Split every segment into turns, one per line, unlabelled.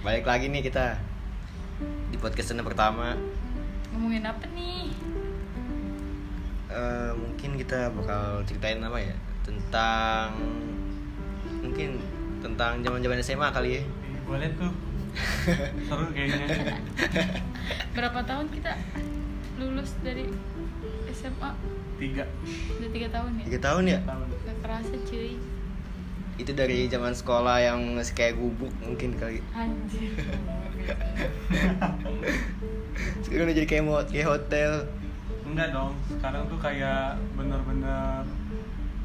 balik lagi nih kita di podcast yang pertama
ngomongin apa nih
Eh, mungkin kita bakal ceritain apa ya tentang mungkin tentang zaman zaman SMA kali ya
Ih, boleh tuh seru kayaknya
berapa tahun kita lulus dari SMA
tiga
udah tiga tahun ya
tiga tahun ya
tahun
gak kerasa cuy
itu dari zaman sekolah yang masih kayak gubuk mungkin kali
anjir
sekarang udah jadi kayak mau kayak hotel
enggak dong sekarang tuh kayak bener-bener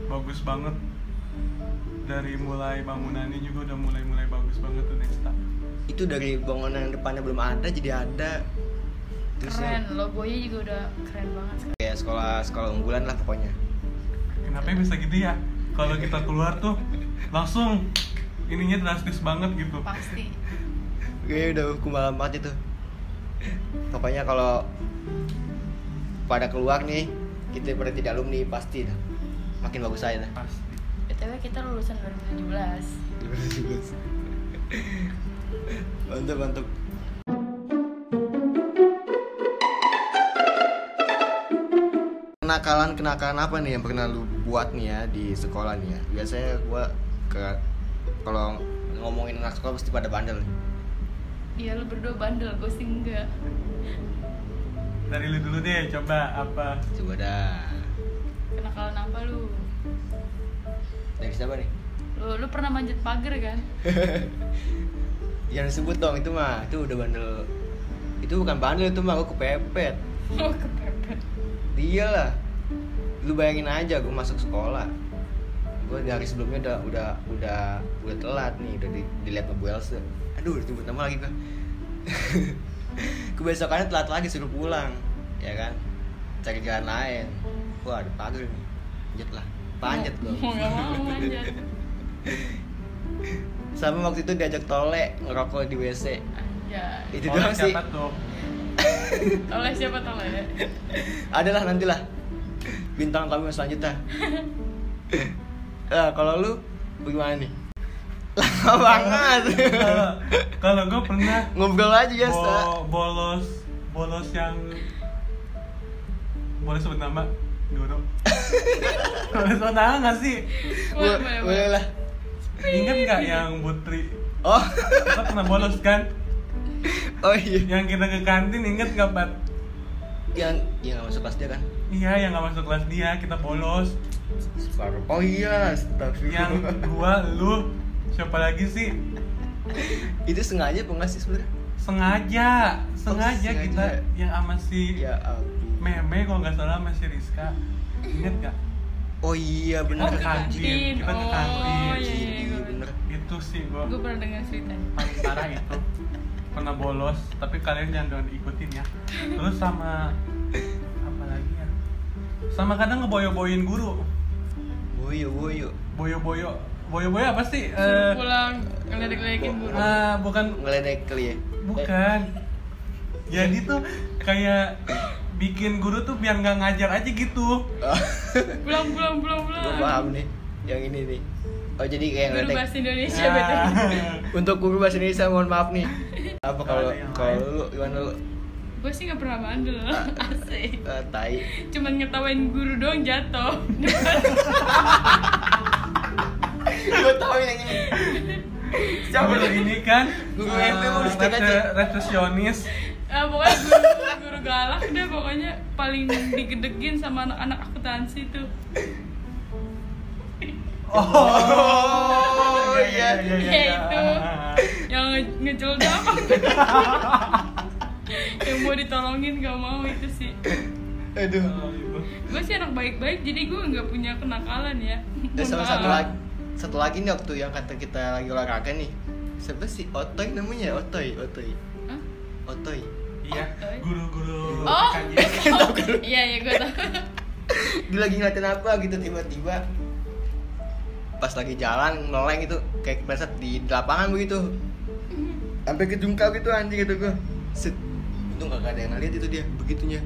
bagus banget dari mulai bangunannya juga udah mulai-mulai bagus banget tuh Nesta
itu dari bangunan yang depannya belum ada jadi ada ya,
keren logonya juga udah keren banget sekarang
kayak sekolah sekolah unggulan lah pokoknya
kenapa bisa gitu ya kalau kita keluar tuh langsung ininya drastis banget gitu
pasti
Gue Iya, udah hukum malam banget itu Pokoknya kalau pada keluar nih kita pada tidak alumni pasti dah. Makin bagus aja dah.
pasti
btw kita lulusan 2017
mantap mantap. Kenakalan kenakalan apa nih yang pernah lu buat nih ya di sekolah nih ya? Biasanya gua ke kalau ngomongin anak sekolah pasti pada bandel. nih.
iya lu berdua bandel gue sih enggak
dari lu dulu deh coba apa
Coba dah.
kenakalan apa lu
Dari siapa nih?
lu, lu pernah manjat pagar kan
Jangan sebut dong itu mah, itu udah bandel. Itu bukan bandel itu mah, gue kepepet.
mau Oh, kepepet
Dia lah. Lu bayangin aja gue masuk sekolah. Gue dari sebelumnya udah udah udah udah telat nih, udah di, dilihat sama Bu Elsa. Aduh, disebut nama lagi gue. Kebesokannya telat lagi suruh pulang, ya kan? Cari jalan lain. Wah, ada pagar nih. Panjat lah. Panjat
Mau-
gue.
mau gak mau manjat
Sama waktu itu diajak tolek ngerokok di
anjay
WC. Itu
Oleh
doang sih.
siapa tuh
oleh siapa tau ya
adalah nantilah bintang tamu selanjutnya Eh, kalau lu bagaimana nih lama banget
Kalau- kalau gue pernah
ngobrol aja biasa
Bo- bolos bolos yang boleh sebut nama Dodo boleh sebut nama nggak sih
Bo- boleh lah
ingat nggak yang Putri
oh
kita pernah bolos kan
oh iya
yang kita ke kantin inget nggak Pat
yang yang nggak masuk kelas dia kan
iya yang nggak masuk kelas dia kita bolos
separuh oh iya tapi
yang gua lu siapa lagi sih
itu sengaja pengasih sebenarnya
sengaja sengaja
sengaja.
kita yang sama si
ya ampun
Meme kalau nggak salah sama si Rizka inget nggak
oh iya bener
Oh, ke
kantin. Kita ke
oh, iya,
kantin.
iya,
kan? Iya,
iya,
bener Eh,
itu sih gua
gue pernah dengar ceritanya
paling parah itu pernah bolos tapi kalian jangan diikutin ya terus sama apa lagi ya sama kadang ngeboyo-boyoin guru
boyo boyo
boyo-boyo boyo-boyo apa sih
Suruh
Eh,
pulang ngeledek-ledekin guru
ah, bukan
ngeledek kali ya
bukan jadi tuh kayak bikin guru tuh biar nggak ngajar aja gitu
pulang pulang pulang
gue
pulang
Eh, paham nih yang ini nih oh jadi kayak
guru
ngeledek
bahasa Indonesia
Iya,
Ah.
betul
Untuk guru bahasa Indonesia mohon maaf nih. Apa kalau
Ada yang
kalau
lain?
lu gimana lu?
gue sih nggak pernah bandel asik
Eh, tai.
cuman ngetawain guru doang jatuh
Gua tahu yang ini.
guru ini kan
Guru
eh,
MP mau di-stick aja.
resep- resepsionis
Ah, pokoknya guru, guru galak deh pokoknya paling digedegin sama anak-anak akuntansi tuh
Oh, iya.
Ya, itu.
Ah,
yang nge- ngejel dah yang mau ditolongin gak mau itu sih
Aduh.
Oh, itu.
gue sih anak baik-baik jadi gue nggak punya kenakalan ya
Dan Eh, sama
Mohon
satu
maaf.
lagi satu lagi nih waktu yang kata kita lagi olahraga nih. Siapa sih Otoy namanya? Otoy, Otoy.
Hah?
Otoy.
Iya, guru-guru
Oh.
PKJ.
iya iya gue tahu
Dia lagi ngeliatin apa gitu tiba-tiba pas lagi jalan noleng itu kayak kepleset di lapangan begitu sampai ke jungkal gitu anjing gitu gua Set. untung gak ada yang ngeliat itu dia begitunya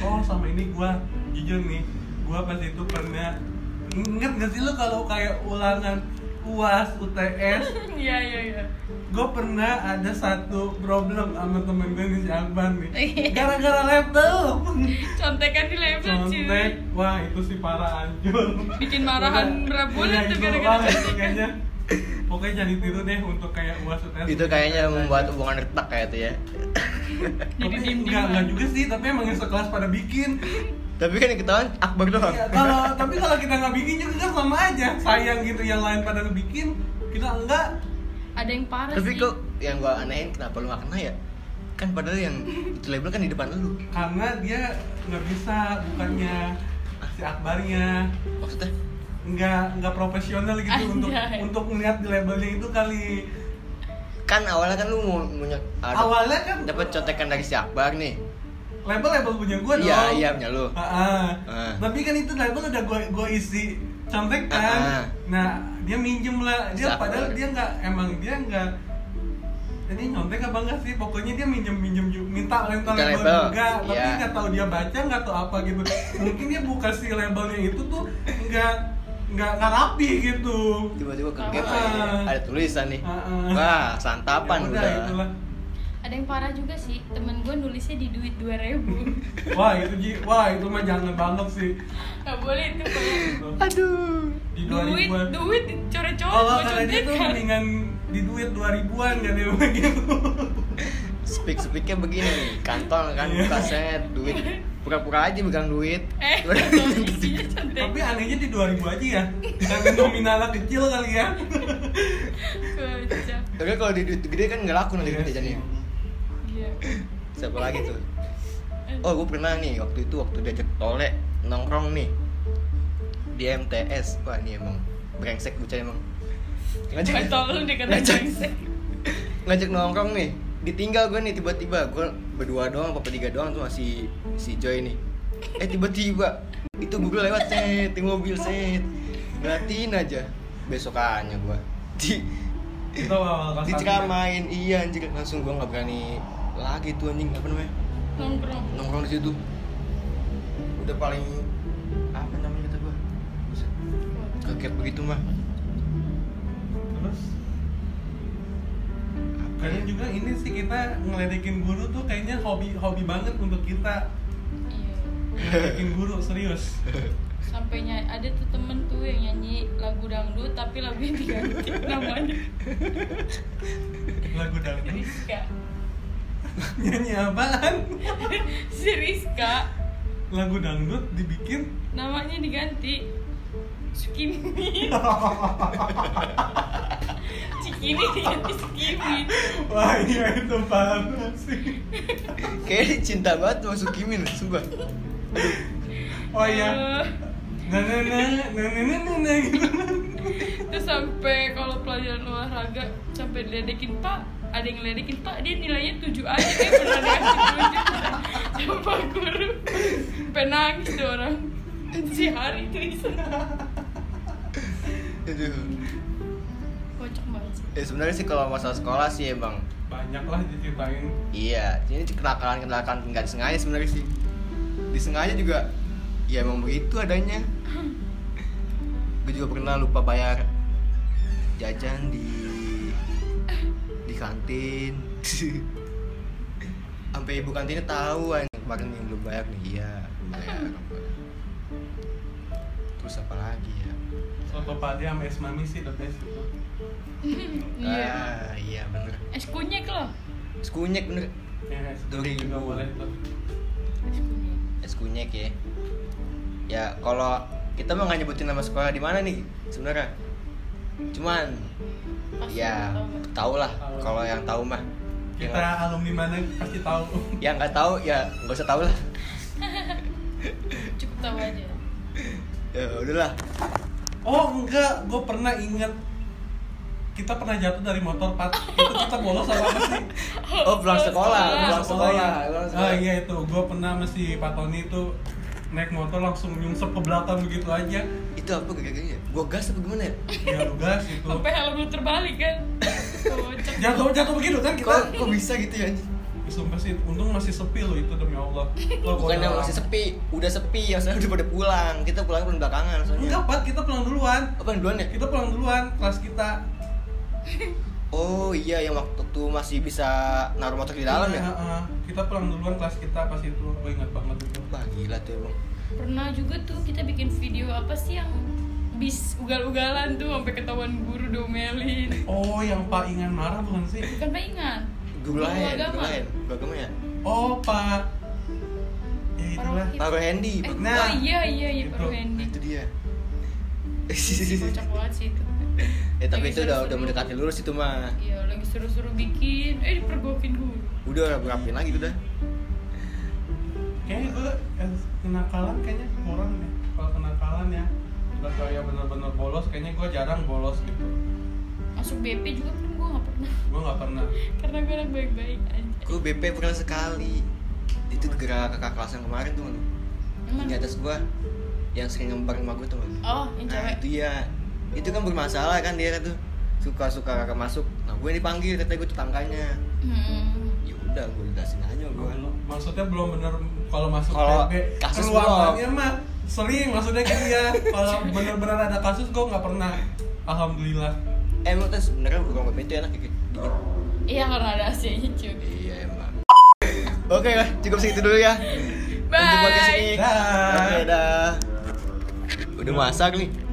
Oh sama ini gua jujur nih, gua pas itu pernah inget gak sih lu kalau kayak ulangan uas UTS
Iya iya iya.
gue pernah ada satu problem sama temen gue nih si Akbar
Oh,
nih gara-gara laptop
Contekan di level
contek
iya. cuy.
wah itu sih parah anjur
Bikin marahan berapa
Udah, iya,
bulan tuh
itu
gara-gara
parah sih
contekan.
kayaknya pokoknya jangan ditiru deh untuk kayak uas UTS
itu kayaknya membuat hubungan retak kayak itu ya
Jadi
tapi enggak, enggak
diem-diem.
juga sih, tapi emang yang sekelas pada bikin
tapi kan yang ketahuan Akbar doang
Iya, kalau tapi kalau kita nggak bikin juga kan sama aja sayang gitu yang lain pada ngebikin kita enggak
Ada yang parah
tapi
sih.
kok yang gua anehin kenapa lu gak kena ya kan padahal yang itu label kan di depan lu
karena dia nggak bisa bukannya si akbarnya
maksudnya
nggak nggak profesional gitu untuk
Anjay.
untuk ngeliat di labelnya itu kali
kan awalnya kan lu mau punya
awalnya kan
dapat contekan dari si Akbar nih
label label punya gue
iya
dong
iya punya lu
Ah,
Ah.
tapi kan itu label udah gue gue isi contekan
Ah.
nah dia minjem lah dia
Sabar.
padahal dia nggak emang dia nggak ini nyontek apa enggak sih pokoknya dia minjem minjem juga minta lental
Minta
label
label,
juga tapi
iya.
nggak tahu dia baca nggak tahu apa gitu mungkin dia buka si labelnya itu tuh nggak nggak nggak rapi gitu
tiba-tiba ke
Ah.
gap aja. ada tulisan nih
Ah, ah.
wah
Ya
santapan
udah,
udah
itulah.
Ada yang parah juga sih. Temen gue nulisnya di duit 2000
wah itu Ji. wah itu mah jangan banget sih
Gak boleh itu kayak
Gitu.
aduh
di
duit
2000-an.
duit coret-coret
Kalau
gue
kata dia tuh
contekan.
mendingan di duit 2000-an gak dia begitu.
speak speaknya begini nih kantong kan
Iya.
buka set duit pura-pura aja pegang duit
Eh, isinya contekan.
Tapi anehnya di 2000 aja ya. Karena nominalnya kecil kali ya.
Kocak.
tapi kalau di duit gede kan nggak laku nanti kita jadi
Iya.
siapa lagi tuh oh gue pernah nih waktu itu waktu diajak tole nongkrong nih di MTS wah ini emang brengsek bocah emang
Gak tau lu dikata
Ngajak-
brengsek
ngajak nongkrong nih ditinggal gue nih tiba-tiba gue berdua doang apa bertiga doang tuh masih si Joy nih eh tiba-tiba itu gue lewat set di mobil set ngeliatin aja besokannya gue di
Itu awal kelas
diceramain iya anjir langsung gue nggak berani lagi tuh anjing apa namanya
Nongkrong
nongkrong di situ udah paling apa namanya kata gue kaget begitu mah
satu. Terus
apa ya?
kadang juga ini sih kita ngeledekin guru tuh kayaknya hobi hobi banget untuk kita
Iya
ngeledekin guru serius.
Sampainya ada tuh temen tuh yang nyanyi lagu dangdut tapi lagunya diganti namanya
Lagu dangdut
Rizka
nyanyi apaan?
Si Rizka
Lagu dangdut dibikin
namanya diganti Sukini Cikini diganti Sukini
wah iya itu parah sih.
kayaknya cinta banget sama Sukimin sumpah
Oh iya.
Eh,
Nah, nah, nah, nah, nah, nah, nah, gitu.
Terus sampai kalau pelajaran olahraga sampai diledekin Pak, ada yang ngeledekin Pak, dia nilainya 7 aja, dia pernah dikasih 7 sama Pak Guru. Sampai nangis tuh orang. Si hari itu iseng.
aduh
Kocak banget sih.
Ya sebenarnya sih kalau masalah sekolah sih emang
Banyak lah diceritain.
iya ini kenakalan kenakalan nggak disengaja sebenarnya sih disengaja juga ya emang begitu adanya gue juga pernah lupa bayar jajan di di kantin sampai ibu kantinnya tahu "An, kemarin yang belum bayar nih iya belum bayar terus apa lagi ya
Soto pade sama es mami sih the best itu.
Iya.
ah, iya bener
Es kunyek loh.
es kunyek bener
Ya, es
Duri.
juga boleh tuh.
Es kunyek.
es kunyek ya ya kalau kita mah nggak nyebutin nama sekolah di mana nih sebenarnya cuman
Pasti
ya
tau nggak?
tau lah kalau yang tahu mah Yang
Kita alumni mana pasti tahu.
nggak- yang nggak tahu ya nggak usah tahu lah
Cukup tahu aja.
ya udahlah
Oh enggak, gue pernah inget kita pernah jatuh dari motor pat itu kita bolos apa apa sih
oh pulang sekolah
Iya.
pulang
Bolos
sekolah
ya?
pulang
ah
sekolah
iya itu gue pernah masih Pak Tony itu naik motor langsung nyungsep ke belakang begitu aja
itu apa gaya-gayanya gua gas apa gimana ya
ya lu gas itu
Sampai helm lu terbalik kan. Kocak.
Ya,
jatuh jatuh begitu kan kita
kok kok bisa gitu ya
sumpah sih untung masih sepi loh itu demi Allah Lo
bukan yang
kalau-
masih sepi udah sepi yang sekarang udah pada pulang kita pulang bulan belakangan soalnya
enggak Pat, kita pulang duluan
apa yang duluan ya
kita pulang duluan kelas kita
oh iya yang waktu itu masih bisa naruh motor di dalam ya
Iya, heeh. kita pulang duluan kelas kita pas itu gue ingat banget itu
wah gila tuh emang
pernah juga tuh kita bikin video apa sih yang bis ugal-ugalan tuh sampai ketahuan guru domelin
oh yang Pak Ingan marah bukan sih
bukan pak ingat
Guru lain, guru
agama.
lain, guru agama ya.
oh Pak ya itulah
Orang-
Taruh Handy,
eh,
Bang.
Nah,
oh iya iya iya
itu.
perlu
Nah,
Hendy
itu dia.
kocak banget sih itu
eh tapi
Lagi
itu udah
seru-seru.
udah mendekati lurus itu mah.
iya lagi suruh-suruh bikin eh dipergokin guru
Udah berapin lagi tuh dah.
kayaknya gue eh, kenakalan kayaknya kurang deh kalau kenakalan ya nggak kayak bener-bener bolos kayaknya gue jarang bolos gitu
masuk BP juga pun gue gak pernah
gue nggak pernah
karena gue anak baik-baik aja
Gue BP pernah sekali. Itu gara kakak kelas yang kemarin tuh, Bang.
Emang?
Di atas gua yang sering ngembar sama gua tuh, Bang.
oh yang
Nah,
cewek
itu ya. Itu kan bermasalah kan dia tuh. Suka-suka kakak masuk. Nah, gue dipanggil katanya gue tetangganya.
Hmm.
Ya udah, gue jelasin aja
Gua
gue.
belum- maksudnya belum bener kalau masuk
Kalau
TB
kasus
ruangannya mah sering maksudnya kayak dia kalau bener-bener ada kasus gue nggak pernah alhamdulillah
Eh, emang tuh sebenarnya ruang BP itu enak ya, kayak dingin.
iya karena ada AC-nya cuy
Iya emang. Oke lah, cukup segitu dulu ya. Untuk podcast
bye
ini.
Dah.
Oke, dah. Udah masak nih.